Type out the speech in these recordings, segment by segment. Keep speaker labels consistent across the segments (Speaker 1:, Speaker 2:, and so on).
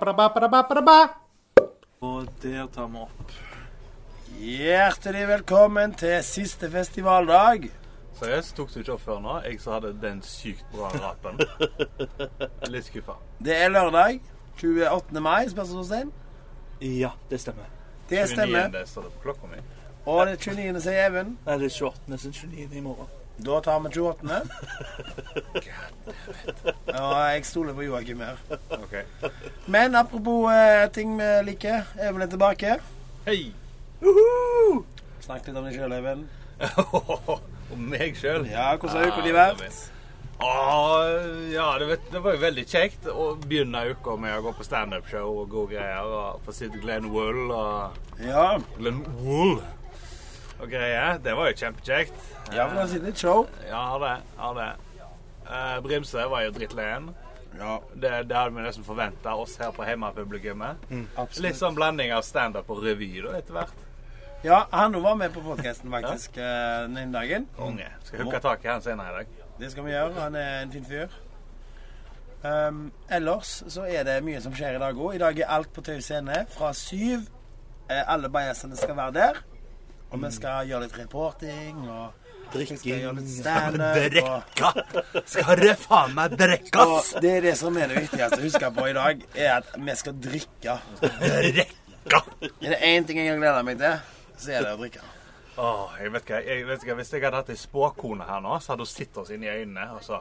Speaker 1: Ba-ba-ba-ba-ba-ba-ba-ba.
Speaker 2: Og der tar vi opp.
Speaker 3: Hjertelig velkommen til siste festivaldag.
Speaker 2: Seriøst, tok du ikke opp før nå? Jeg som hadde den sykt bra rapen. Litt skuffa.
Speaker 3: Det er lørdag 28. mai, spørsmålstegn.
Speaker 4: Ja, det stemmer.
Speaker 3: Det stemmer.
Speaker 2: Det står det på klokka mi.
Speaker 3: Og det er 29. sier Even.
Speaker 4: Nei, det er 28. sin 29. i morgen.
Speaker 3: Da tar vi 28. Og jeg stoler på Joakim her.
Speaker 2: Ok.
Speaker 3: Men apropos eh, ting vi liker. Even er tilbake.
Speaker 2: Hei!
Speaker 3: Snakk litt om deg sjøl, Even.
Speaker 2: Og meg sjøl.
Speaker 3: Ja, hvordan har uka di vært?
Speaker 2: ja, det, vet, det var jo veldig kjekt å begynne uka med å gå på standup-show og gode greier. Og få sitte Glenn Wool og
Speaker 3: Ja,
Speaker 2: Glenn Wool og greier. Det var jo kjempekjekt. Eh,
Speaker 3: ja for det har sittet et show.
Speaker 2: Ja, har det. Har det. Eh, Brimse var jo drittleien.
Speaker 3: Ja,
Speaker 2: Det, det hadde vi nesten forventa, oss her på hjemmepublikummet. Litt
Speaker 3: absolutt.
Speaker 2: sånn blanding av standup og revy da, etter hvert.
Speaker 3: Ja, han var med på podkasten faktisk eh, den ene dagen.
Speaker 2: Konge. Skal hooke tak i han senere i dag.
Speaker 3: Det skal vi gjøre. Han er en fin fyr. Um, ellers så er det mye som skjer i dag òg. I dag er alt på Tau scene fra syv. Eh, alle bajasene skal være der. Og vi skal gjøre litt reporting og vi skal gjøre litt standup. Og,
Speaker 2: Skal det faen meg drekkas?
Speaker 3: og det er det som er det viktigste å huske på i dag, er at vi skal drikke.
Speaker 2: Drekka!
Speaker 3: Er det én ting jeg gleder meg til, så er det å drikke.
Speaker 2: Åh, jeg vet hva, jeg vet hva, Hvis jeg hadde hatt ei spåkone her nå, så hadde hun sett oss inn i øynene og så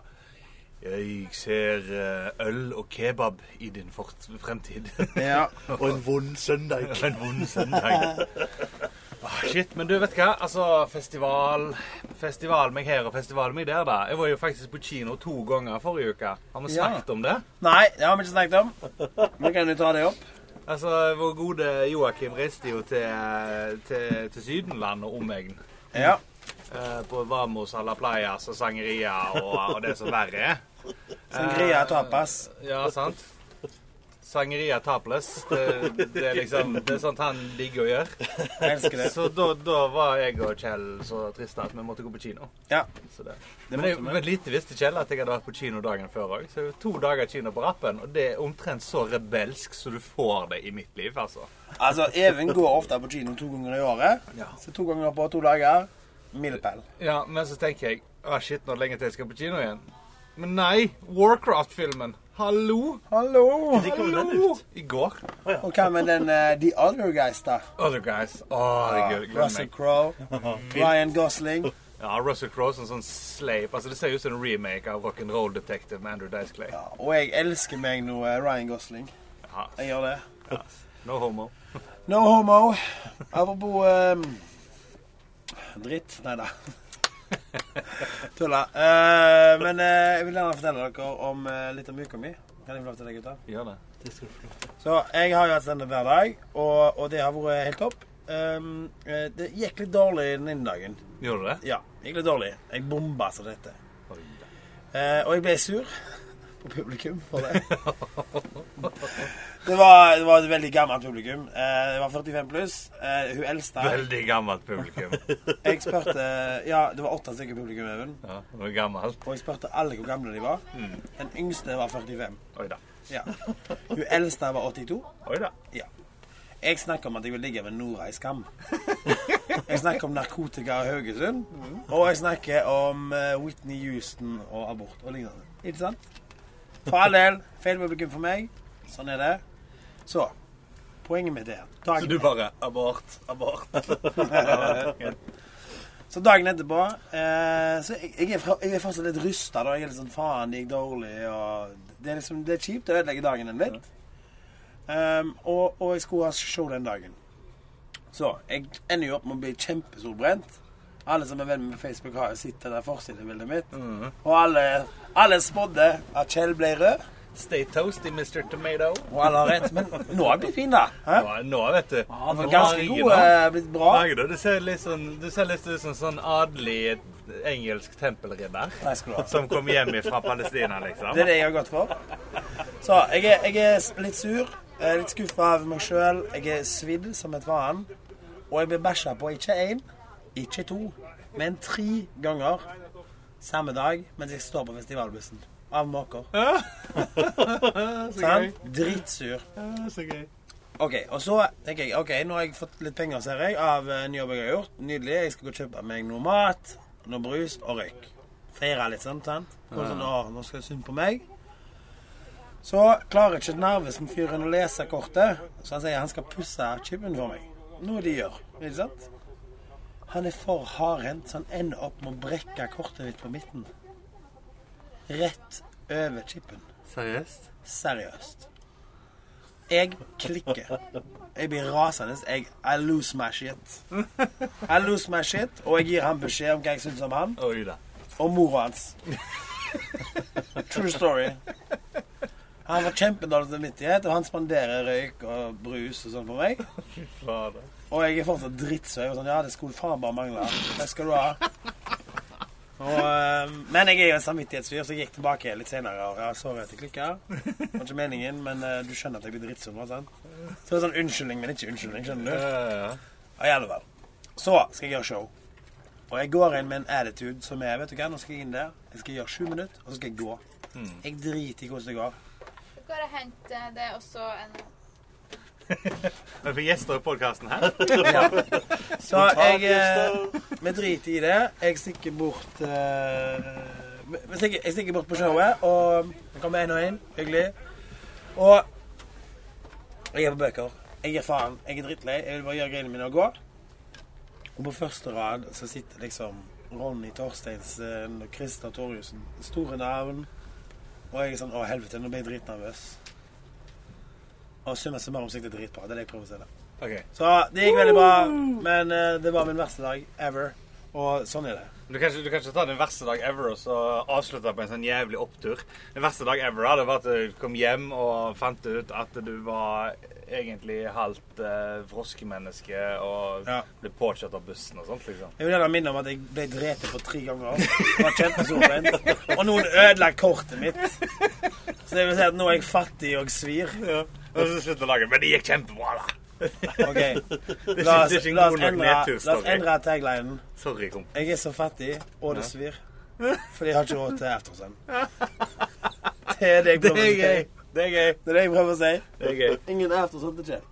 Speaker 2: Jeg ser eh, øl og kebab i din fort fremtid.
Speaker 3: Ja.
Speaker 4: Og en vond søndag.
Speaker 2: Det var en vond søndag. Ah, shit, men du vet hva? Altså, festival Festival meg her og festival meg der, da. Jeg var jo faktisk på kino to ganger forrige uke. Har vi
Speaker 3: Ja.
Speaker 2: snakket om det?
Speaker 3: Nei, det har vi ikke snakket om. Vi kan jo ta det opp.
Speaker 2: Altså, Vår gode Joakim reiste jo til, til, til Sydenland og omegn.
Speaker 3: Ja.
Speaker 2: Eh, på Vamos a la Playas og sangeria og, og det som verre er.
Speaker 3: Sangria tapas.
Speaker 2: Ja, sant? Sangeria tapless. Det, det er liksom Det er sånt han digger å gjøre.
Speaker 3: Jeg elsker det.
Speaker 2: Så da, da var jeg og Kjell så triste at vi måtte gå på kino.
Speaker 3: Ja.
Speaker 2: Så det.
Speaker 3: Det
Speaker 2: Men, jeg,
Speaker 3: måtte vi.
Speaker 2: men lite visste Kjell at jeg hadde vært på kino dagen før òg. Så det var to dager kino på rappen, og det er omtrent så rebelsk som du får det i mitt liv, altså.
Speaker 3: Altså, Even går ofte på kino to ganger i året.
Speaker 2: Ja.
Speaker 3: Så to ganger på to dager. Milepæl.
Speaker 2: Ja, men så tenker jeg Å, shit, nå er det lenge til jeg skal på kino igjen. Men nei! Warcraft-filmen. Hallo!
Speaker 3: Hallo!
Speaker 2: Hallo! I går.
Speaker 3: Og hva med den eh, The Other Guys, da?
Speaker 2: Other guys. Å, herregud. Glem
Speaker 3: Russell
Speaker 2: meg.
Speaker 3: Crowe. Ryan Gosling.
Speaker 2: Ja, Russell Crowe som sånn sleip. Altså, det ser ut som en remake av Rock'n'Roll Detective med Andrew Dice Clay.
Speaker 3: Ja, og jeg elsker meg nå eh, Ryan Gosling.
Speaker 2: Ja.
Speaker 3: Jeg gjør det.
Speaker 2: No homo.
Speaker 3: No homo. Apropos eh, dritt. Nei da. Tulla. Eh, men eh, jeg vil gjerne fortelle dere om eh, litt om uka mi. Kan jeg få lov til det, gutter?
Speaker 2: Gjør det.
Speaker 3: Så jeg har jo hatt standup hver dag, og, og det har vært helt topp. Ehm, eh, det gikk litt dårlig den ene dagen.
Speaker 2: Gjorde du det?
Speaker 3: Ja, det gikk litt dårlig. Jeg bomba som dette.
Speaker 2: Oi, da.
Speaker 3: Eh, og jeg ble sur på publikum for det. Det var, det var et veldig gammelt publikum. Eh, det var 45 pluss. Eh, hun eldste
Speaker 2: Veldig gammelt publikum.
Speaker 3: Jeg spurte Ja, det var åtte stykker publikum, Even.
Speaker 2: Ja, det var gammelt.
Speaker 3: Og jeg spurte alle hvor gamle de var. Den yngste var 45.
Speaker 2: Oi da.
Speaker 3: Ja. Hun eldste var 82.
Speaker 2: Oi da.
Speaker 3: Jeg snakker om at jeg vil ligge med Nora i Skam. Jeg snakker om narkotika og Haugesund. Og jeg snakker om eh, Whitney Houston og abort og lignende. Ikke sant? For all del. Feil publikum for meg. Sånn er det. Så poenget mitt er
Speaker 2: Så du
Speaker 3: dagen,
Speaker 2: bare abort, abort.
Speaker 3: Så dagen etterpå eh, Så jeg, jeg, er fra, jeg er fortsatt litt rysta. Jeg er litt sånn Faen, det gikk dårlig. Og det, er liksom, det er kjipt. Det ødelegger dagen din litt. Um, og, og jeg skulle ha show den dagen. Så jeg ender jo opp med å bli kjempesolbrent. Alle som er venn med meg på Facebook, har jo sett det der forsidebildet mitt.
Speaker 2: Mhm.
Speaker 3: Og alle, alle spådde at Kjell ble rød.
Speaker 2: Stay toasty, Mr. Tomato.
Speaker 3: Og alle har rett. Men nå er jeg blitt fin, da. Hæ?
Speaker 2: Ja, nå, vet du.
Speaker 3: Han
Speaker 2: Nå
Speaker 3: var
Speaker 2: har
Speaker 3: ganske
Speaker 2: jeg
Speaker 3: god.
Speaker 2: nå.
Speaker 3: eh, Blitt bra.
Speaker 2: Herregud, Du ser litt sånn, du ser litt ut som sånn adelig engelsk tempelridder
Speaker 3: Nei, skal du ha.
Speaker 2: som kom hjem fra Palestina,
Speaker 3: Det
Speaker 2: liksom.
Speaker 3: er det jeg har gått for. Så jeg er, jeg er s- litt sur. Jeg er litt skuffa over meg sjøl. Jeg er svidd som et faen. Og jeg blir bæsja på ikke én, ikke to, men tre ganger samme dag mens jeg står på festivalbussen. av måker.
Speaker 2: Så gøy.
Speaker 3: Sant? Dritsur.
Speaker 2: Ja, Så gøy.
Speaker 3: OK, og så tenker jeg OK, nå har jeg fått litt penger, ser jeg, av eh, en jobb jeg har gjort. Nydelig. Jeg skal gå og kjøpe meg noe mat, noe brus og røyk. Feire litt, sant? sant? Og sånn, å, nå skal det synd på meg. Så klarer ikke nervesen fyren å lese kortet, så han sier han skal pusse chipen for meg. Noe de gjør, ikke sant? Han er for hardhendt, så han ender opp med å brekke kortet mitt på midten. Rett over chipen.
Speaker 2: Seriøst?
Speaker 3: Seriøst. Jeg klikker. Jeg blir rasende. Jeg, I lose my shit. I lose my shit, og jeg gir ham beskjed om hva jeg syns om han
Speaker 2: Oi da.
Speaker 3: og mora hans. True story. Han var kjempedårlig samvittighet, og han spanderer røyk og brus og sånn på meg.
Speaker 2: Fader.
Speaker 3: Og jeg er fortsatt drittsøy. og Sånn, ja, det skulle faen bare mangle. Det skal du ha. Og, eh, men jeg er jo en samvittighetsfyr, så jeg gikk tilbake litt senere. Og ja, sorry at jeg klikka. Det var ikke meningen, men eh, du skjønner at jeg blir drittsunn. hva sant? Så det er sånn unnskyldning, men ikke unnskyldning.
Speaker 2: Ja,
Speaker 3: skjønner du?
Speaker 2: ja, ja.
Speaker 3: Ja, i alle fall. Så skal jeg gjøre show. Og jeg går inn med en attitude som er Vet du hva, nå skal jeg inn der. Jeg skal gjøre sju minutter, og så skal jeg gå. Jeg driter i hvordan det går.
Speaker 1: Går og henter det er også en
Speaker 2: Men for gjester i podkasten her.
Speaker 3: Så jeg eh, Vi driter i det. Jeg stikker bort eh, vi stikker, Jeg stikker bort på showet, og det kommer én og én. Hyggelig. Og jeg er på bøker. Jeg gir faen. Jeg er drittlei. Jeg vil bare gjøre greiene mine og gå. Og på første rad så sitter liksom Ronny Torsteinsen og Christer Torjussen. Store navn. Og jeg er sånn Å, helvete, nå ble jeg dritnervøs. Og summa summarum så gikk det dritbra. Det er det jeg prøver å si. da.
Speaker 2: Ok.
Speaker 3: Så det gikk veldig bra, men eh, det var min verste dag ever. Og sånn er det.
Speaker 2: Du kan, ikke, du kan ikke ta den verste dag ever og så avslutte på en sånn jævlig opptur. Den verste dag ever hadde vært at du kom hjem og fant ut at du var egentlig halvt eh, froskemenneske og
Speaker 3: Ja.
Speaker 2: ble påkjørt av bussen og sånt, liksom.
Speaker 3: Jeg vil gjerne minne om at jeg ble drept på tre ganger. Det var kjempesolbrent. Og noen ødela kortet mitt. Så det vil si at nå er jeg fattig og svir.
Speaker 2: Og så slutta dagen. Men det gikk kjempebra, da.
Speaker 3: OK.
Speaker 2: Det er
Speaker 3: La
Speaker 2: ikke,
Speaker 3: oss,
Speaker 2: det er ikke en
Speaker 3: la oss
Speaker 2: god nok
Speaker 3: endre, la oss
Speaker 2: nedtur-story.
Speaker 3: endre taglinen.
Speaker 2: Sorry, komp.
Speaker 3: Jeg er så fattig, og det svir. Fordi jeg har ikke råd til aftersun. Det er det
Speaker 2: Det
Speaker 3: jeg prøver å
Speaker 2: er
Speaker 3: si.
Speaker 2: gøy. Det er gøy.
Speaker 3: Det er det jeg prøver å si.
Speaker 2: Det er gøy.
Speaker 3: Ingen sånn, aftersun til kjell.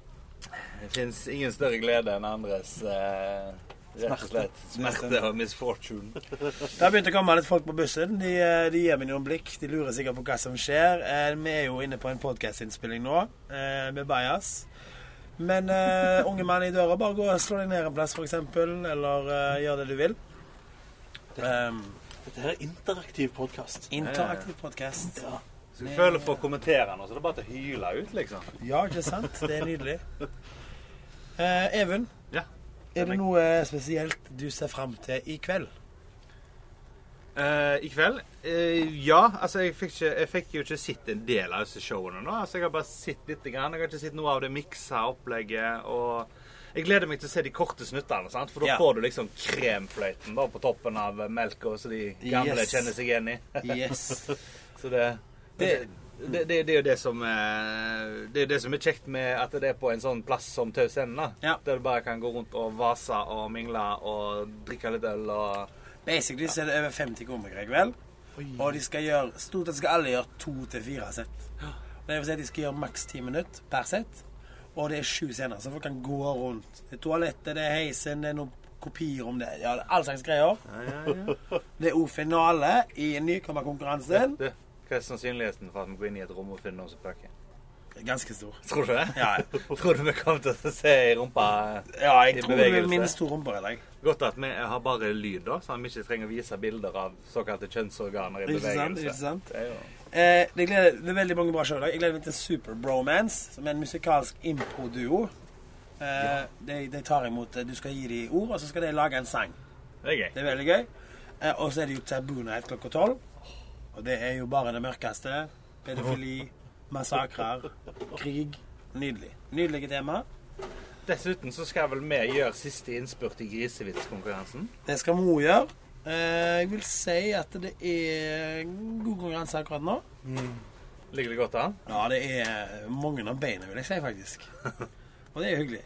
Speaker 2: Det fins ingen større glede enn andres eh, rett og slett smerte og misfortune.
Speaker 3: Det har begynt å komme litt folk på bussen. De, eh, de gir meg noen blikk. De lurer sikkert på hva som skjer. Eh, Vi er jo inne på en podkastinnspilling nå, eh, med bajas. Men eh, unge mann i døra, bare gå og slå deg ned en plass, f.eks. Eller eh, gjør det du vil. Um,
Speaker 4: Dette her er interaktiv podkast.
Speaker 3: interaktiv podkast.
Speaker 4: Ja.
Speaker 2: Så jeg føler for å kommentere nå, så det er bare til å hyle ut, liksom.
Speaker 3: Ja, ikke sant? Det er nydelig. Eh, Even,
Speaker 2: Ja.
Speaker 3: er det noe spesielt du ser fram til i kveld?
Speaker 2: Eh, I kveld? Eh, ja. Altså, jeg fikk, ikke, jeg fikk jo ikke sett en del av disse showene nå. Altså, jeg har bare sett litt. Grann. Jeg har ikke sett noe av det miksa opplegget. og... Jeg gleder meg til å se de korte snuttene, sant? for da
Speaker 3: Ja.
Speaker 2: får du liksom kremfløyten da, på toppen av melka, så de gamle
Speaker 3: Yes.
Speaker 2: kjenner seg igjen i.
Speaker 3: Yes.
Speaker 2: Så det det, det, det, det er jo det som eh, Det er det som er kjekt med at det er på en sånn plass som Taushenden. da.
Speaker 3: Ja.
Speaker 2: Der du bare kan gå rundt og vase og mingle og drikke litt øl og
Speaker 3: Basically så er det over 50 komikere i kveld. Og de skal gjøre, stort sett skal alle gjøre to til fire sett. Det vil si at de skal gjøre maks ti minutter per sett. Og det er sju scener, så folk kan gå rundt. Det er toalettet, det er heisen, det er noen kopier om det. Ja, det er all slags greier. Det er òg finale i nykommerkonkurransen.
Speaker 2: Du, hva er sannsynligheten for at vi går inn i et rom og finner noen som pøker?
Speaker 3: Ganske stor.
Speaker 2: Tror du det?
Speaker 3: Ja, ja.
Speaker 2: Tror du vi kommer til å se ei rumpa
Speaker 3: ja
Speaker 2: I
Speaker 3: jeg tror det
Speaker 2: bevegelse.
Speaker 3: blir minst to rumper i dag.
Speaker 2: Godt at vi har bare lyd, da, så vi ikke trenger å vise bilder av såkalte kjønnsorganer i
Speaker 3: Ikke sant?
Speaker 2: bevegelse.
Speaker 3: Ikke sant?
Speaker 2: Det er jo-
Speaker 3: Eh, det, gleder, det er veldig mange bra show i dag. Jeg gleder meg til Super Bromance, som er en musikalsk impro-duo. Eh, de, de tar imot eh, Du skal gi dem ord, og så skal de lage en sang.
Speaker 2: Det er gøy.
Speaker 3: Det er veldig gøy. Eh, og så er det jo Taboo Night klokka tolv. Og det er jo bare det mørkeste. Pedofili, massakrer, krig. Nydelig. Nydelige tema.
Speaker 2: Dessuten så skal vel vi gjøre siste innspurt i grisevitskonkurransen.
Speaker 3: Det skal Mo gjøre. Eh, jeg vil si at det er god konkurranse akkurat nå.
Speaker 2: Ligger det godt an?
Speaker 3: Ja, det er eh, mange av beina, vil jeg si, faktisk. Og det er jo hyggelig.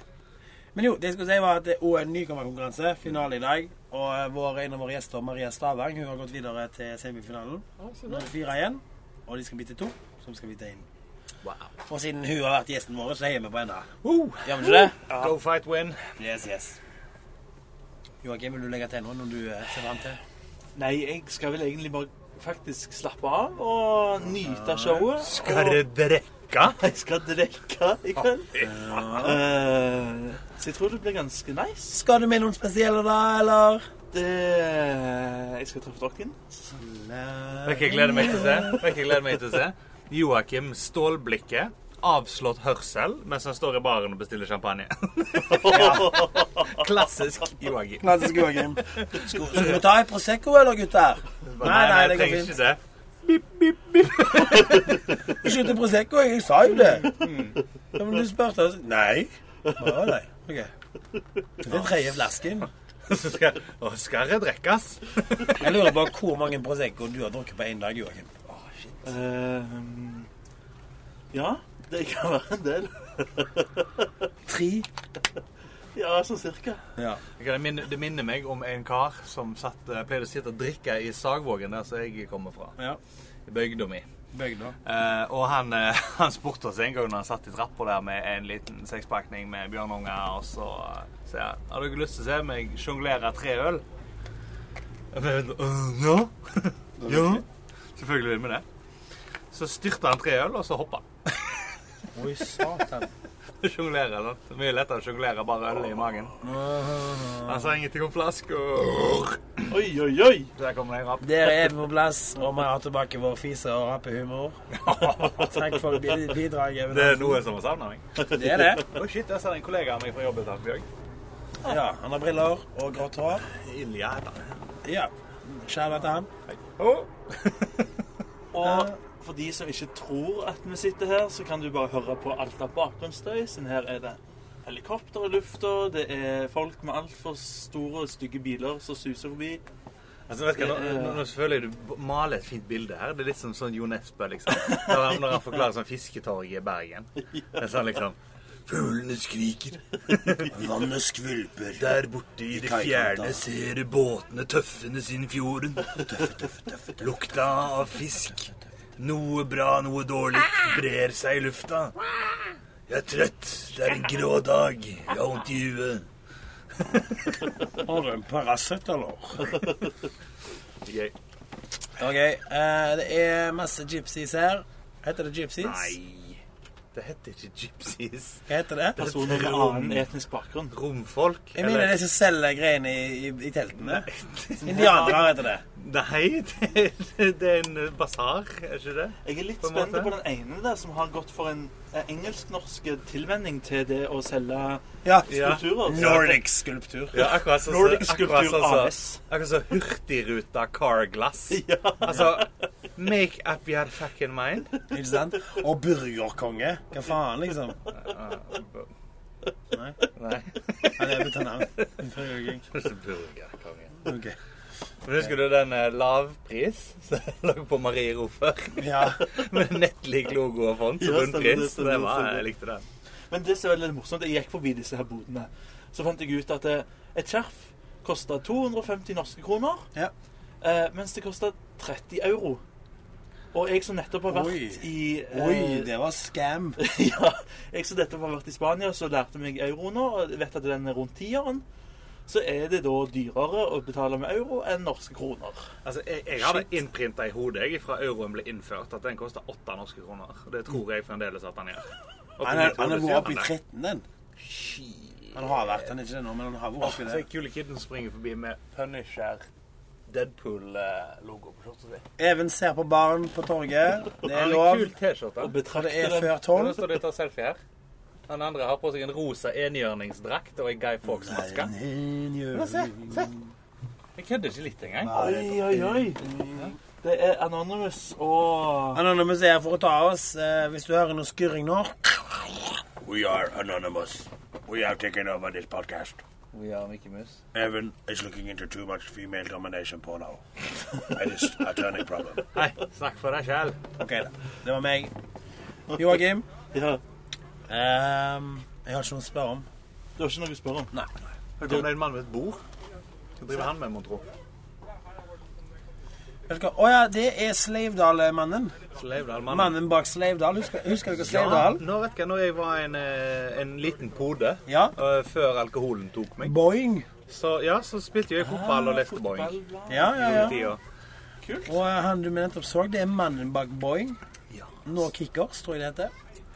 Speaker 3: Men jo, det jeg skulle si var at det er også en nykommerkonkurranse. Finale i dag. eh, Og vår, en av våre gjester, Maria Stavang, hun har gått videre til semifinalen. Nå er det fire igjen. Og de skal bli til to, som skal bli til én.
Speaker 2: Wow.
Speaker 3: Og siden hun har vært gjesten vår, så heier vi på henne.
Speaker 5: Gjør vi ikke det?
Speaker 2: Go fight win.
Speaker 3: Yes, yes. Joakim, vil du legge til noe når du eh, ser fram til?
Speaker 4: Nei, jeg skal vel egentlig bare faktisk slappe av og nyte showet.
Speaker 2: Skal dere drikke?
Speaker 4: og jeg skal drikke i kveld. Eh, så jeg tror det blir ganske nice.
Speaker 3: Skal du med noen spesielle, da, eller?
Speaker 4: Det, jeg skal treffe dere.
Speaker 2: Vet ikke jeg gleder meg til å se. Vet ikke jeg gleder meg til å se. Joakim stålblikket, avslått hørsel, mens han står i baren og bestiller champagne. Klassisk Joakim.
Speaker 3: Klassisk Joakim. Skal skal vi ta en Prosecco, eller, gutter? Nei, nei, det
Speaker 2: jeg
Speaker 3: går
Speaker 2: trenger
Speaker 3: fint.
Speaker 2: ikke det.
Speaker 3: Ikke Mm. til Prosecco, jeg sa jo det. Ja, men du spurte oss Nei. Å, nei. Ok. Det er tredje flasken.
Speaker 2: Så skal, å, skal det drikkes?
Speaker 3: Jeg lurer bare hvor mange Prosecco du har drukket på én dag, Joakim.
Speaker 4: Eh, ja, det kan være en del.
Speaker 3: Tre.
Speaker 4: Ja, sånn cirka.
Speaker 3: Ja.
Speaker 2: Det minner, det minner meg om en kar som satt, eh, pleide å sitte og drikke i Sagvågen, der som jeg kommer fra.
Speaker 3: ja.
Speaker 2: I bygda mi.
Speaker 3: Bygda.
Speaker 2: Eh, og han, eh, han spurte oss en gang når han satt i trappa der med en liten sekspakning med bjørnunger, og så eh, sier han Har dere lyst til å se meg sjonglere tre øl? Jeg bare, «Øh, Ja. ja. Selvfølgelig vil vi det. Så styrta han tre øl, og så hoppa han.
Speaker 3: Oi, satan.
Speaker 2: Sjonglere. sant? Det er Mye lettere å sjonglere bare øl i magen. Han sa ingenting om flaske og
Speaker 4: Oi, oi, oi.
Speaker 2: Så der kommer det en rap.
Speaker 3: Der er vi på plass, og vi har tilbake vår fise- og rappehumor. Takk for bi- bidraget.
Speaker 2: Det er noe som har savna meg.
Speaker 3: Det er det.
Speaker 2: Å shit, der sa en kollega av meg fra jobb i dag. Bjørg.
Speaker 3: Ja, Han har briller og grått hår.
Speaker 2: Ilja heter han.
Speaker 3: Ja. Skjæra til han.
Speaker 2: Å.
Speaker 4: Og for de som ikke tror at vi sitter her, så kan du bare høre på alt av bakgrunnsstøy. Siden her er det helikopter i lufta, det er folk med altfor store, stygge biler som suser forbi.
Speaker 2: Altså, vet du hva, nå, nå, nå føler jeg du maler et fint bilde her. Det er litt som sånn Jo Nesbø, liksom. Når han, når han forklarer sånn fisketorget i Bergen. Det er sånn liksom Fuglene skriker.
Speaker 3: Vannet skvulper.
Speaker 2: Der borte i det fjerne ser du båtene tøffende sin fjorden. Lukta av fisk. Noe bra, noe dårlig brer seg i lufta. Jeg er trøtt. Det er en grå dag. Jeg har vondt i huet.
Speaker 3: Har du en Paracet, eller?
Speaker 2: Gøy.
Speaker 3: OK. eh, det er masse gypsies her. Heter det gypsies?
Speaker 2: Nei. Det heter ikke gypsies.
Speaker 3: Hva heter det?
Speaker 4: Personer med annen etnisk bakgrunn.
Speaker 2: Romfolk?
Speaker 3: Jeg mener det er de som selger greiene i, i, i teltene. Indianere heter det.
Speaker 2: Nei, det, det er en basar, er ikke det?
Speaker 4: Jeg er litt
Speaker 2: På en
Speaker 4: spent
Speaker 2: måte.
Speaker 4: på den ene der som har gått for en eh, engelsk-norsk tilvenning til det å selge
Speaker 3: Ja.
Speaker 2: Ja.
Speaker 4: kulturer.
Speaker 3: Nordic skulptur.
Speaker 2: Ja, akkurat sånn
Speaker 4: Nordic
Speaker 2: som-
Speaker 4: Skulptur
Speaker 2: akkurat sånn som-
Speaker 4: AS.
Speaker 2: Akkurat som Hurtigruta Car Glass.
Speaker 4: Ja.
Speaker 2: Altså Make up your fucking mind.
Speaker 3: Ikke sant? Og burgerkonge. Hva faen, liksom? Nei.
Speaker 2: Nei.
Speaker 3: Ja, det er bytta navn. Burgerkonge.
Speaker 2: Burgerkongen.
Speaker 3: Ok.
Speaker 2: Men Husker du den eh, lavpris som lå på Marie Rofer?
Speaker 3: Ja.
Speaker 2: Med nettlik logo og font som
Speaker 4: Ja, stemmer det,
Speaker 2: bunnpris.
Speaker 4: stemmer det,
Speaker 2: Det var,
Speaker 4: stemmer
Speaker 2: jeg
Speaker 4: det.
Speaker 2: likte den.
Speaker 4: Men det som er litt morsomt, jeg gikk forbi disse her bodene. Så fant jeg ut at eh, et skjerf kosta 250 norske kroner,
Speaker 3: Ja.
Speaker 4: eh, mens det kosta 30 euro. Og jeg som nettopp har vært
Speaker 3: Oi.
Speaker 4: i eh,
Speaker 3: Oi, det var scam.
Speaker 4: ja, Jeg som nettopp har vært i Spania, så lærte meg euro nå, og vet at den er rundt tieren. Så er det da dyrere å betale med euro enn norske kroner.
Speaker 2: Altså, Jeg, jeg hadde innprinta i hodet jeg fra euroen ble innført at den kosta åtte norske kroner. Og Det tror jeg fremdeles at den gjør. Og
Speaker 3: Han er-
Speaker 2: på
Speaker 3: han
Speaker 2: mitt
Speaker 3: har
Speaker 2: hode så
Speaker 3: vært oppe i
Speaker 2: gjør den det.
Speaker 3: 13, den. Han har vært, han er ikke det nå, men han har vært oppi
Speaker 2: Så
Speaker 3: det.
Speaker 2: er kule kiden som springer forbi med Punisher Deadpool-logo på skjorta si.
Speaker 3: Even ser på barn på torget. Det er
Speaker 2: Han
Speaker 3: lov.
Speaker 2: har en kul T-skjorte.
Speaker 4: Og
Speaker 3: Og det
Speaker 4: betrakte
Speaker 3: er
Speaker 4: det
Speaker 3: før
Speaker 2: Nå
Speaker 3: tolv.
Speaker 2: står de og tar selfie her. Han andre har på seg en rosa enhjørningsdrakt og ei Guy Fawkes-maske. Men Se, se. Jeg kødder ikke litt engang.
Speaker 4: Oi, oi, oi. Det er Anonymous og
Speaker 3: Anonymous er her for å ta oss. Eh, hvis du hører noe skurring nå We are anonymous. We are taking over this podcast.
Speaker 2: Vi har Mickey Mus.
Speaker 3: Even is looking into too much female domination porno. It is a turning problem.
Speaker 2: Hei, snakk for deg sjæl.
Speaker 3: OK, da. Det var meg. Joakim.
Speaker 4: Ja,
Speaker 3: ehm, jeg har ikke noe å spørre om.
Speaker 4: du har ikke noe å spørre om?
Speaker 3: Nei.
Speaker 2: Hørte du om det er en mann med et bord? Hva driver han med, mon tro?
Speaker 3: Vet du hva? Å ja, det er Sleivdal-mannen.
Speaker 2: Sleivdal-mannen.
Speaker 3: Mannen bak Sleivdal. Husker, husker dere
Speaker 2: Ja,
Speaker 3: Sleivdal?
Speaker 2: nå vet jeg, når jeg var en, eh, en liten pode
Speaker 3: Ja.
Speaker 2: eh, før alkoholen tok meg,
Speaker 3: Boing.
Speaker 2: så, ja, så spilte jeg fotball og leste boing.
Speaker 3: Ja, ja,
Speaker 2: i
Speaker 3: ja.
Speaker 2: tida.
Speaker 4: Kult.
Speaker 3: Og eh, han du med nettopp så, det er mannen bak Boing.
Speaker 2: Ja.
Speaker 3: Nå Kickers, tror jeg det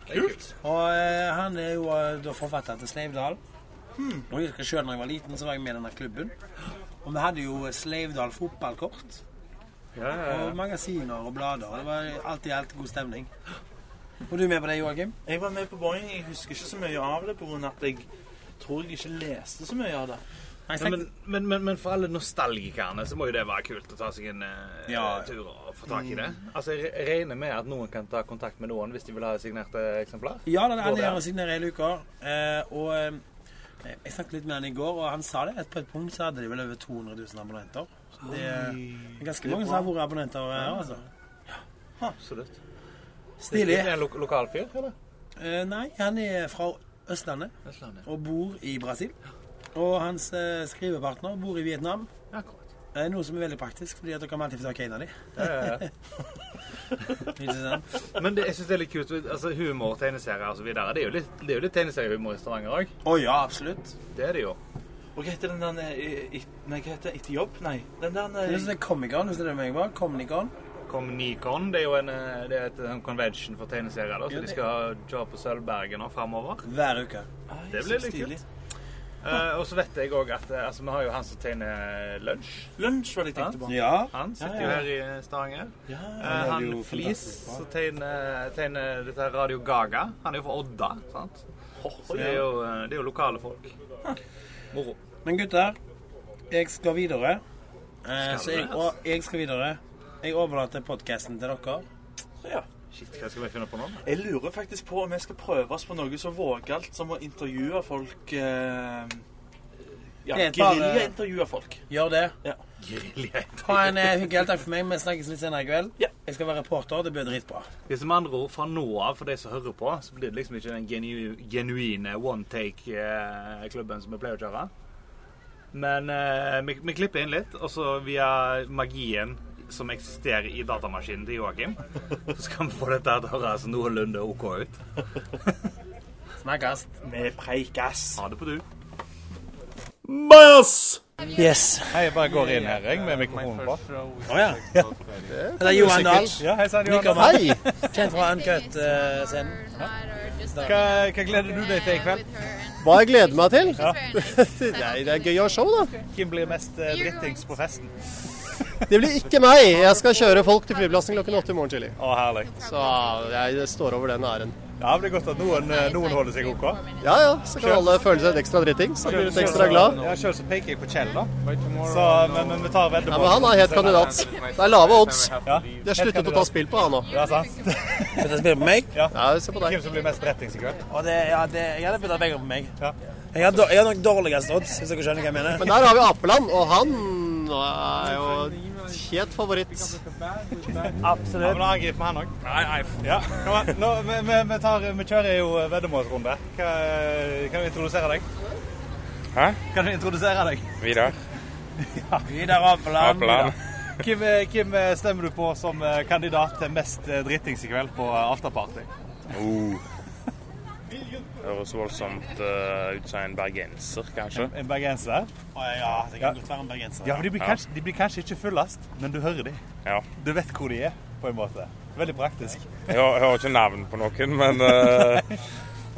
Speaker 3: heter.
Speaker 2: Kult.
Speaker 3: Og eh, han er jo eh, da forfatter til Sleivdal. Og jeg husker selv når jeg var liten, så var jeg med i denne klubben. Og vi hadde jo eh, Sleivdal fotballkort.
Speaker 2: Ja, ja,
Speaker 3: Og
Speaker 2: ja.
Speaker 3: magasiner og blader. og Det var alltid helt god stemning. Og du er med på det, Joakim?
Speaker 4: Jeg var med på Boeing. Jeg husker ikke så mye av det pga. at jeg tror jeg ikke leste så mye av det.
Speaker 2: Ja, men, men, men, men for alle nostalgikerne så må jo det være kult å ta seg en eh,
Speaker 3: Ja.
Speaker 2: tur og få tak
Speaker 3: Mm.
Speaker 2: i det. Altså, Jeg re- regner med at noen kan ta kontakt med noen hvis de vil ha signerte eksemplar.
Speaker 3: Ja, det er
Speaker 2: Går det?
Speaker 3: alle gjør signerer hele uka. Eh, og eh, jeg snakket litt med han i går, og han sa det. at På et punkt så hadde de vel over 200 000 abonnenter. Så det er ganske mange som har vært abonnenter her, altså.
Speaker 2: Absolutt.
Speaker 3: Stilig.
Speaker 2: Er det en lo lokal fyr, eller?
Speaker 3: Eh, nei, han er fra Østlandet
Speaker 2: Østlandet.
Speaker 3: og bor i Brasil. Og hans eh, skrivepartner bor i Vietnam.
Speaker 2: Akkurat.
Speaker 3: Eh, noe som er veldig praktisk, fordi at dere kan alltid få tak i en av dem.
Speaker 2: Ja, ja, ja.
Speaker 3: Ikke sant?
Speaker 2: Men det, jeg synes det er litt kult. Altså, humor, tegneserier osv. Det er jo litt, det er jo litt tegneseriehumor i Stavanger òg.
Speaker 3: Å ja, absolutt.
Speaker 2: Det er det jo.
Speaker 4: Og hva heter den der eh, it- Nei, hva heter den? Etter jobb? Nei. Den der
Speaker 3: Det er
Speaker 4: eh,
Speaker 3: sånn Comic-Con, hvis det er det meg var. Comic-Con.
Speaker 2: Comnicon det er jo en, eh, det er et en convention for tegneserier. Da,
Speaker 3: Ja,
Speaker 2: så de
Speaker 3: det-
Speaker 2: skal kjøre på Sølvberget nå framover.
Speaker 3: Hver uke.
Speaker 4: ai,
Speaker 2: Det
Speaker 4: så
Speaker 2: blir litt
Speaker 4: stilig.
Speaker 2: Eh, og så vet jeg òg at eh, altså, vi har jo han som tegner lunsj.
Speaker 4: Lunsj var det jeg
Speaker 2: Ja.
Speaker 4: tenkte på.
Speaker 3: Ja.
Speaker 2: Han sitter
Speaker 4: Ja, ja.
Speaker 2: jo her i Stavanger.
Speaker 4: Ja,
Speaker 2: Eh,
Speaker 3: lager jo
Speaker 2: han Flis
Speaker 3: fantastisk bra.
Speaker 2: som tegner, tegner dette her Radio Gaga. Han er jo fra Odda, sant? Så det er jo, eh, det er jo lokale folk. Moro.
Speaker 3: Men gutter, jeg skal videre.
Speaker 2: Skal
Speaker 3: Eh, så
Speaker 2: du
Speaker 3: jeg,
Speaker 2: det,
Speaker 3: og, jeg skal videre. Jeg overlater podkasten til dere.
Speaker 4: ja.
Speaker 2: Shit, hva skal vi finne på nå?
Speaker 4: Jeg lurer faktisk på om vi skal prøve oss på noe så vågalt som å intervjue folk eh, Ja,
Speaker 3: Det er et par-
Speaker 4: geriljaintervjue folk.
Speaker 3: Gjør det.
Speaker 2: Grilljeit.
Speaker 3: Ha en eh, hyggelig dag for meg. Vi snakkes litt senere i kveld.
Speaker 4: Ja.
Speaker 3: Jeg skal være reporter. Det blir dritbra.
Speaker 2: Hvis med andre ord, fra nå av, for de som hører på, så blir det liksom ikke den genu genuine one take-klubben som vi pleier å kjøre. Men eh, vi, vi klipper inn litt, og så via magien som eksisterer i datamaskinen til Joakim, så skal vi få dette her til å høres noenlunde OK ut.
Speaker 3: Snakkes.
Speaker 4: Vi preikas.
Speaker 2: Ha det på du.
Speaker 3: Yes.
Speaker 2: Hei, jeg bare går inn her jeg, med mikrofonen på.
Speaker 3: Å ja. Det er Johan Dahl.
Speaker 2: Ja, hei sann,
Speaker 3: Johan.
Speaker 2: Johanna.
Speaker 5: Hei!
Speaker 3: Kjent fra eh. Uncut-scenen.
Speaker 2: Hva, hva gleder du deg til i kveld?
Speaker 5: Hva jeg gleder meg til? Nei,
Speaker 1: Nei,
Speaker 5: det er gøy å ha show, da.
Speaker 2: Hvem blir mest eh, drittings på festen?
Speaker 5: Det blir ikke meg. Jeg skal kjøre folk til flyplassen klokken åtte i morgen tidlig.
Speaker 2: Å, herlig.
Speaker 5: Så jeg står over den æren.
Speaker 2: Ja, men det er godt at noen, eh, noen holder seg OK.
Speaker 5: Ja ja, så kan alle føle seg litt ekstra dritting. Så blir du litt ekstra glad.
Speaker 2: Ja, selv så peker jeg på Kjell, da. Så, men, men vi tar veddemål.
Speaker 5: Ja, men han er helt kandidat. Det er lave odds.
Speaker 2: Ja,
Speaker 5: De har sluttet å ta spill på han nå.
Speaker 2: Ja, sant.
Speaker 3: Skal jeg spille på meg?
Speaker 5: Ja, se på
Speaker 2: Hvem
Speaker 5: deg.
Speaker 2: som blir mest rettings i kveld?
Speaker 3: Og det, ja, det, jeg hadde bytta begge på meg.
Speaker 2: Ja.
Speaker 3: Jeg har, dår- jeg har nok dårligst odds, hvis dere skjønner hva jeg mener.
Speaker 5: Men der har vi Apeland, og han er jo helt favoritt.
Speaker 2: Ja, men da angriper vi han òg. Nei, nei. Ja, kom an. Nå, vi, vi, vi, tar, vi kjører jo eh, veddemålsrunde. Hva, kan du introdusere deg?
Speaker 6: Hæ?
Speaker 2: Kan du introdusere deg?
Speaker 6: Vidar?
Speaker 3: Vidar Apeland.
Speaker 6: Apeland.
Speaker 2: Hvem, eh, hvem eh, stemmer du på som eh, kandidat til mest eh, drittings i kveld på eh, afterparty?
Speaker 6: Høres voldsomt eh, ut som en bergenser, kanskje.
Speaker 2: En bergenser?
Speaker 3: Å ja, det kan godt være en bergenser.
Speaker 2: Ja, men de blir, kanskje, de blir kanskje ikke fullest, men du hører de.
Speaker 6: Ja.
Speaker 2: Du vet hvor de er, på en måte. Veldig praktisk.
Speaker 6: Jeg har, jeg har ikke navn på noen, men eh,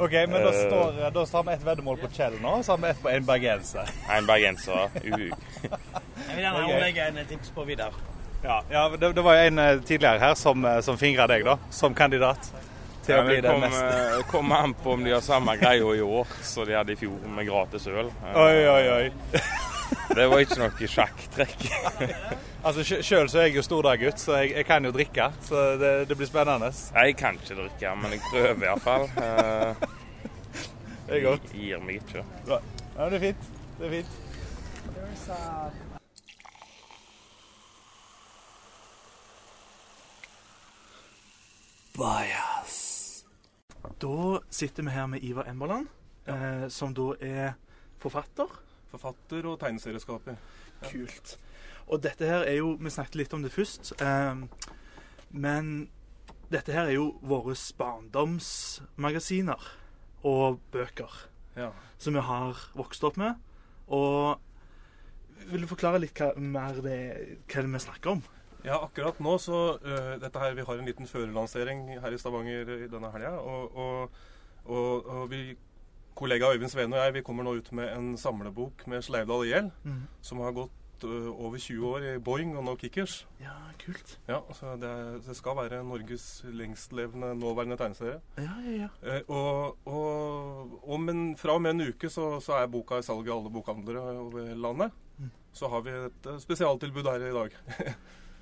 Speaker 2: OK, men da,
Speaker 6: Eh.
Speaker 2: står, da har vi ett veddemål på Kjell nå, og så har vi ett på en bergenser.
Speaker 6: en bergenser. Uhu.
Speaker 3: Jeg vil gjerne
Speaker 2: Ok.
Speaker 3: omlegge en tips på Vidar.
Speaker 2: Ja, ja det, det var jo en eh, tidligere her som, eh, som fingra deg, da. Som kandidat. Til
Speaker 6: Ja,
Speaker 2: å bli
Speaker 6: det
Speaker 2: den
Speaker 6: kom,
Speaker 2: mest
Speaker 6: eh, kom an på om de har samme greia i år som de hadde i fjor, med gratis øl. Eh,
Speaker 2: Oi, oi, oi.
Speaker 6: Det var ikke noe sjakktrekk.
Speaker 2: Altså, sj- Sjøl så er jeg jo stordaggutt, så jeg, jeg kan jo drikke. Så det, det blir spennende.
Speaker 6: Jeg kan ikke drikke, men jeg prøver iallfall.
Speaker 2: Det er godt.
Speaker 6: Eh, Gir meg ikke.
Speaker 2: Ja, det er fint. Det er fint.
Speaker 4: Bajas. Da sitter vi her med Ivar Emberland, eh, som da er forfatter
Speaker 7: Forfatter og tegneserieskaper.
Speaker 4: Kult. Og dette her er jo Vi snakket litt om det først. eh, men dette her er jo våre barndomsmagasiner og bøker
Speaker 7: Ja.
Speaker 4: som vi har vokst opp med. Og vil du forklare litt hva, mer det, hva det er vi snakker om?
Speaker 7: Ja, akkurat nå så øh, dette her, Vi har en liten førerlansering her i Stavanger i denne helga. Og, og, og, og vi, kollega Øyvind Sveen og jeg vi kommer nå ut med en samlebok med Sleivdal IL, som har gått øh, over 20 år i Boeing og nå Kickers.
Speaker 4: Ja, kult.
Speaker 7: Ja, så det, er- det skal være Norges lengstlevende nåværende tegneserie.
Speaker 4: Ja, ja, ja.
Speaker 7: Eh, og og om en, fra og med en uke så, så er boka i salg i alle bokhandlere over landet.
Speaker 4: Mm.
Speaker 7: Så har vi et eh, spesialtilbud her i dag.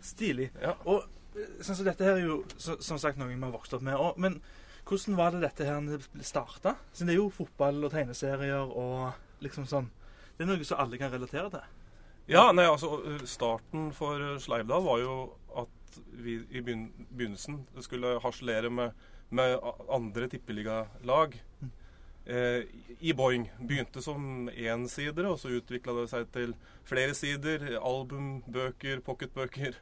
Speaker 4: Stilig.
Speaker 7: Ja.
Speaker 4: Og eh, sånn som dette her er jo så, som sagt noe vi har vokst opp med. Og, men hvordan var det dette her starta? Siden det er jo fotball og tegneserier og liksom sånn. Det er noe som alle kan relatere til.
Speaker 7: Ja, nei, altså eh, Starten for eh, Sleivdal var jo at vi i begyn- begynnelsen skulle harselere med, med a- andre tippeligalag.
Speaker 4: Mm.
Speaker 7: Eh, i- I Boing. Begynte som ensidere, og så utvikla det seg til flere sider. Album, bøker, pocketbøker.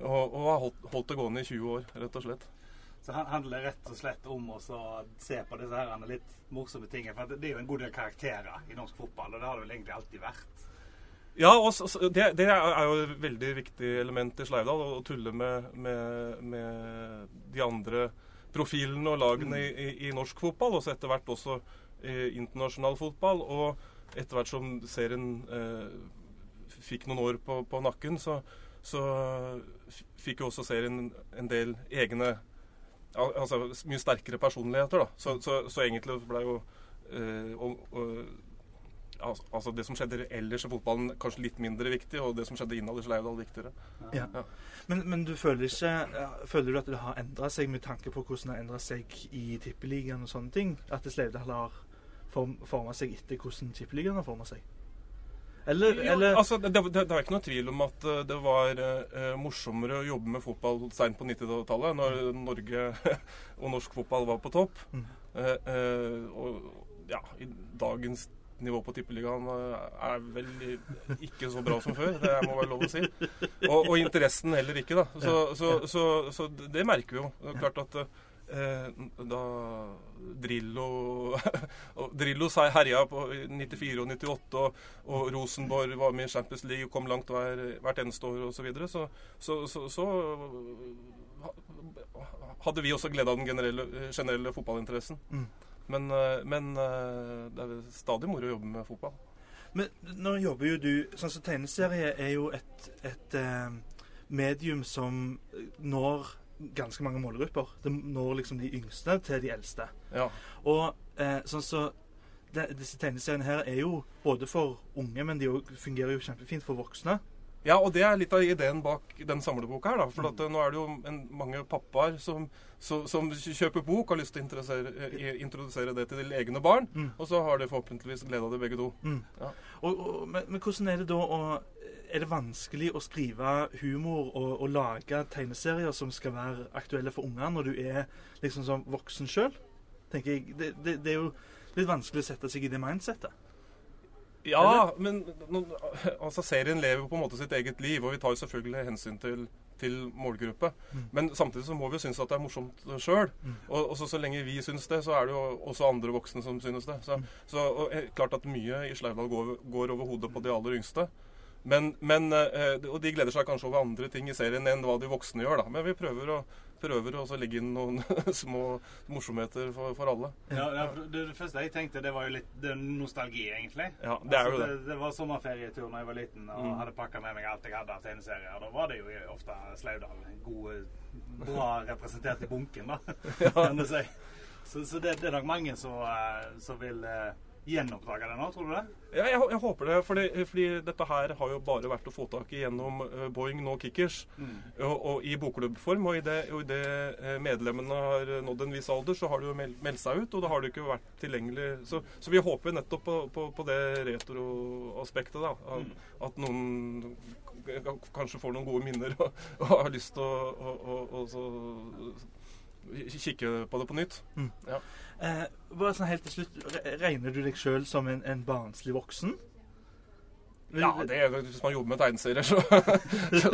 Speaker 7: Og, og har holdt, holdt det gående i 20 år, rett og slett.
Speaker 8: Så han handler rett og slett om å så se på disse her litt morsomme tingene. For at det er jo en god del karakterer i norsk fotball, og det har det vel egentlig alltid vært.
Speaker 7: Ja, og så, så det, det er jo et veldig viktig element i Sleivdal, å tulle med, med, med de andre profilene og lagene i, i, i norsk fotball, og så etter hvert også eh, internasjonal fotball. Og etter hvert som serien eh, fikk noen år på, på nakken, så, så f- fikk jo også serien en del egne al- Altså mye sterkere personligheter, da. Så, så, så egentlig ble jo eh, og, og, Altså, altså Det som skjedde ellers i fotballen, kanskje litt mindre viktig, og det som skjedde innad i Sleivdal, viktigere.
Speaker 4: Men, men du føler ikke ja, Føler du at det har endra seg med tanke på hvordan det har endra seg i Tippeligaen og sånne ting? At det Sleivdal har forma seg etter hvordan Tippeligaen har forma seg? Eller, eller
Speaker 7: altså, det, det, det er ikke noe tvil om at eh, det var eh, morsommere å jobbe med fotball seint på 90-tallet, når Norge og norsk fotball var på topp.
Speaker 4: Mm.
Speaker 7: Eh, eh, og ja, i dagens nivå på tippeligaen eh, er vel ikke så bra som før. Det må være lov å si. Og, og interessen heller ikke, da. Så, så, så, så det merker vi jo. Det er klart at eh, da Drillo og Drillo sa- herja på 94 og 98, og, og Rosenborg var med i Champions League og kom langt hver, hvert eneste år osv., så, videre, så, så, så, så ha- hadde vi også glede av den generelle, generelle fotballinteressen.
Speaker 4: Mm.
Speaker 7: Men, eh, men eh, det er stadig moro å jobbe med fotball.
Speaker 4: Men nå jobber jo du Sånn som tegneserie er jo et, et eh, medium som eh, når ganske mange målgrupper. Det når liksom de yngste til de eldste.
Speaker 7: Ja.
Speaker 4: Og eh, sånn så de, Disse tegneseriene her er jo både for unge, men de òg fungerer jo kjempefint for voksne.
Speaker 7: Ja, og det er litt av ideen bak den samleboka her, da. For at, eh, nå er det jo en, mange pappaer som, som, som kjøper bok og har lyst til å interessere- eh, introdusere det til de egne barn.
Speaker 4: Mm.
Speaker 7: Og så har de forhåpentligvis glede av det, begge to.
Speaker 4: Og, og, men, men hvordan er det da å Er det vanskelig å skrive humor og, og lage tegneserier som skal være aktuelle for unger, når du er liksom sånn voksen sjøl? Tenker jeg. Det, det, det er jo litt vanskelig å sette seg i det mindsettet.
Speaker 7: Ja, men nå, altså, serien lever jo på en måte sitt eget liv, og vi tar jo selvfølgelig hensyn til, til målgruppe.
Speaker 4: Mm.
Speaker 7: Men samtidig så må vi jo synes at det er morsomt sjøl.
Speaker 4: Mm.
Speaker 7: Og, og så, så lenge vi synes det, så er det jo også andre voksne som synes det. Så,
Speaker 4: Mm.
Speaker 7: så og, eh, klart at mye i Sleivdal går, går over hodet på de aller yngste. Men, men, eh, og de gleder seg kanskje over andre ting i serien enn hva de voksne gjør, da. Men vi prøver å, prøver å så legge inn noen små morsomheter for, for alle.
Speaker 8: Ja, ja, for det, det første jeg tenkte, det var jo litt det er nostalgi, egentlig.
Speaker 7: Ja, det er jo
Speaker 8: Altså,
Speaker 7: det.
Speaker 8: det var sommerferietur da jeg var liten og
Speaker 7: Mm.
Speaker 8: hadde pakka med meg alt jeg hadde av tegneserier. Da var det jo ofte Slaudal. Gode, bra representert i bunken, da. kan du si. Så, så det, det er nok mange som, eh, som vil eh, gjenoppdage det nå, tror du det?
Speaker 7: Ja, jeg, hå- jeg håper det, fordi, fordi dette her har jo bare vært å få tak i gjennom eh, Boeing nå Kickers. Og, og I bokklubbform. Og idet og i det eh, medlemmene har eh, nådd en viss alder, så har det jo mel- meldt seg ut. Og da har det jo ikke vært tilgjengelig. Så, så vi håper nettopp på, på, på det retroaspektet, da. At, at noen k- k- kanskje får noen gode minner og, og har lyst til å, å, å, å så kikke på det på nytt.
Speaker 4: Eh, bare sånn helt til slutt, re- Regner du deg sjøl som en, en barnslig voksen?
Speaker 7: Ja, det, er- hvis man jobber med tegneserier, så, så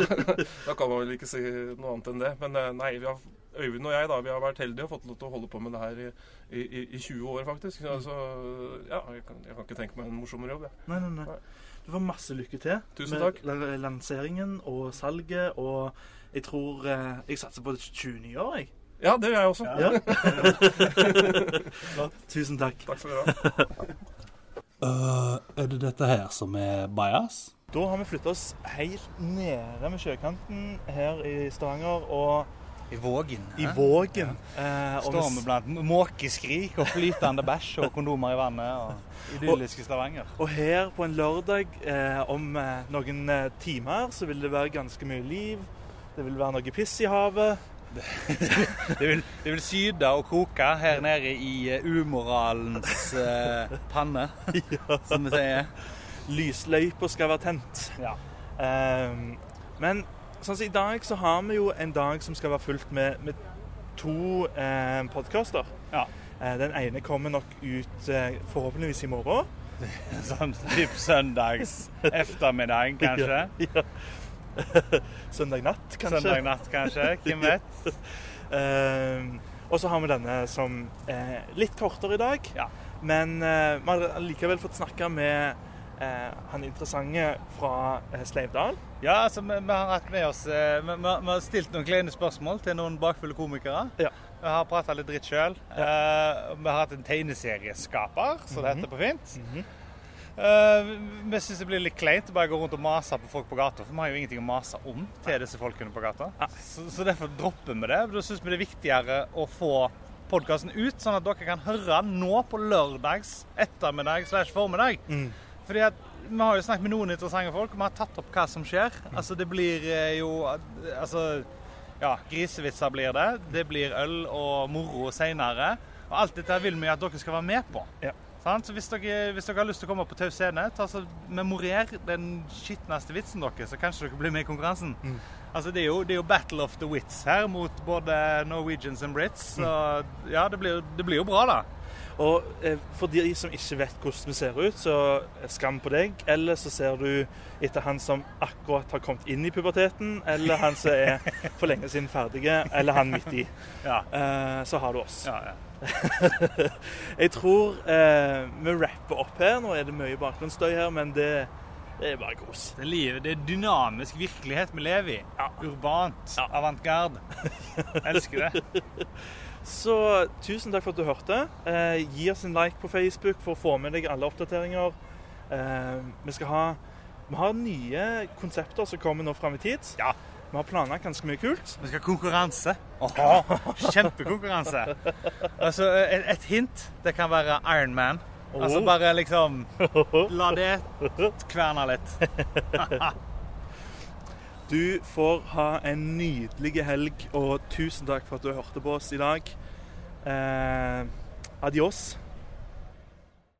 Speaker 7: Da kan man vel ikke si noe annet enn det. Men eh, nei, vi har, Øyvind og jeg da, vi har vært heldige og fått lov til å holde på med det her i, i, i- i 20 år, faktisk. Så altså, ja, jeg kan, jeg kan ikke tenke meg en morsommere jobb. Jeg.
Speaker 4: Nei, nei, nei. Du får masse lykke til
Speaker 7: Tusen
Speaker 4: med
Speaker 7: takk.
Speaker 4: la- lanseringen og salget. Og jeg tror eh, Jeg satser på et 20 i år, jeg.
Speaker 7: Ja, det gjør jeg også.
Speaker 4: Ja. Tusen takk.
Speaker 7: Takk skal dere ha.
Speaker 4: er det dette her som er bajas? Da har vi flytta oss helt nede med sjøkanten her i Stavanger og
Speaker 2: I Vågen.
Speaker 4: i Vågen. Eh, og vi
Speaker 2: Står vi blant måkeskrik og flytende bæsj og kondomer i vannet. og Idylliske Stavanger.
Speaker 4: Og her på en lørdag eh, om eh, noen eh, timer så vil det være ganske mye liv. Det vil være noe piss i havet.
Speaker 2: Det vil, det vil syde og koke her nede i eh, umoralens eh, panne, som vi sier.
Speaker 4: Lysløyper skal være tent.
Speaker 2: Ja.
Speaker 4: Ehm, men sånn som i dag så har vi jo en dag som skal være fulgt med, med to eh, podkaster.
Speaker 2: Ja.
Speaker 4: Eh, den ene kommer nok ut eh, forhåpentligvis i morgen.
Speaker 2: Sånn typ søndags ettermiddag, kanskje.
Speaker 4: Søndag natt, kanskje.
Speaker 2: Søndag natt, kanskje. Hvem vet?
Speaker 4: Ehm, og så har vi denne som eh, litt kortere i dag. Men eh, vi har likevel fått snakke med eh, han interessante fra eh, Sleivdal.
Speaker 2: Ja, altså, vi, vi har hatt med oss eh, vi, vi, vi har stilt noen kleine spørsmål til noen bakfulle komikere.
Speaker 4: Ja.
Speaker 2: Vi har prata litt dritt sjøl. vi har hatt en tegneserieskaper, som det heter på fint. Eh, vi- vi syns det blir litt kleint å bare gå rundt og mase på folk på gata, for vi har jo ingenting å mase om til disse folkene på gata. Så, så derfor dropper vi det. Da syns vi det er viktigere å få podkasten ut, sånn at dere kan høre den nå på lørdags ettermiddag slash formiddag. Fordi at vi har jo snakket med noen interessante folk, og vi har tatt opp hva som skjer. Altså, det blir eh, jo Altså ja, grisevitser blir det. Det blir øl og moro senere. Og alt dette vil vi at dere skal være med på.
Speaker 4: Ja.
Speaker 2: Sant? Så hvis dere, hvis dere har lyst til å komme på Taus scene, ta så memorer den skitneste vitsen deres, så kanskje dere blir med i konkurransen. Altså, det er, jo, det er jo battle of the wits her mot både Norwegians and Brits. Så ja, det blir, det blir jo bra, da.
Speaker 4: Og eh, for de som ikke vet hvordan vi ser ut, så eh, skam på deg. Eller så ser du etter han som akkurat har kommet inn i puberteten, eller han som er for lenge siden ferdige, eller han midt i.
Speaker 2: Ja.
Speaker 4: Eh, så har du oss.
Speaker 2: Ja, ja.
Speaker 4: Jeg tror eh, vi rapper opp her. Nå er det mye bakgrunnsstøy her, men det, det er bare kos.
Speaker 2: Det, er livet, det er dynamisk virkelighet vi lever i. Urbant. Avantgarde. Elsker det.
Speaker 4: Så tusen takk for at du hørte. Eh, gi oss en like på Facebook for å få med deg alle oppdateringer. Eh, vi skal ha vi har nye konsepter som kommer nå fram i tid.
Speaker 2: Ja.
Speaker 4: Vi har planlagt ganske mye kult.
Speaker 2: Vi skal ha konkurranse. Kjempekonkurranse. Altså, et, et hint det kan være Ironman. Altså
Speaker 4: Oh.
Speaker 2: bare liksom La det kverne litt.
Speaker 4: Du får ha en nydelig helg, og tusen takk for at du hørte på oss i dag. Eh, adios.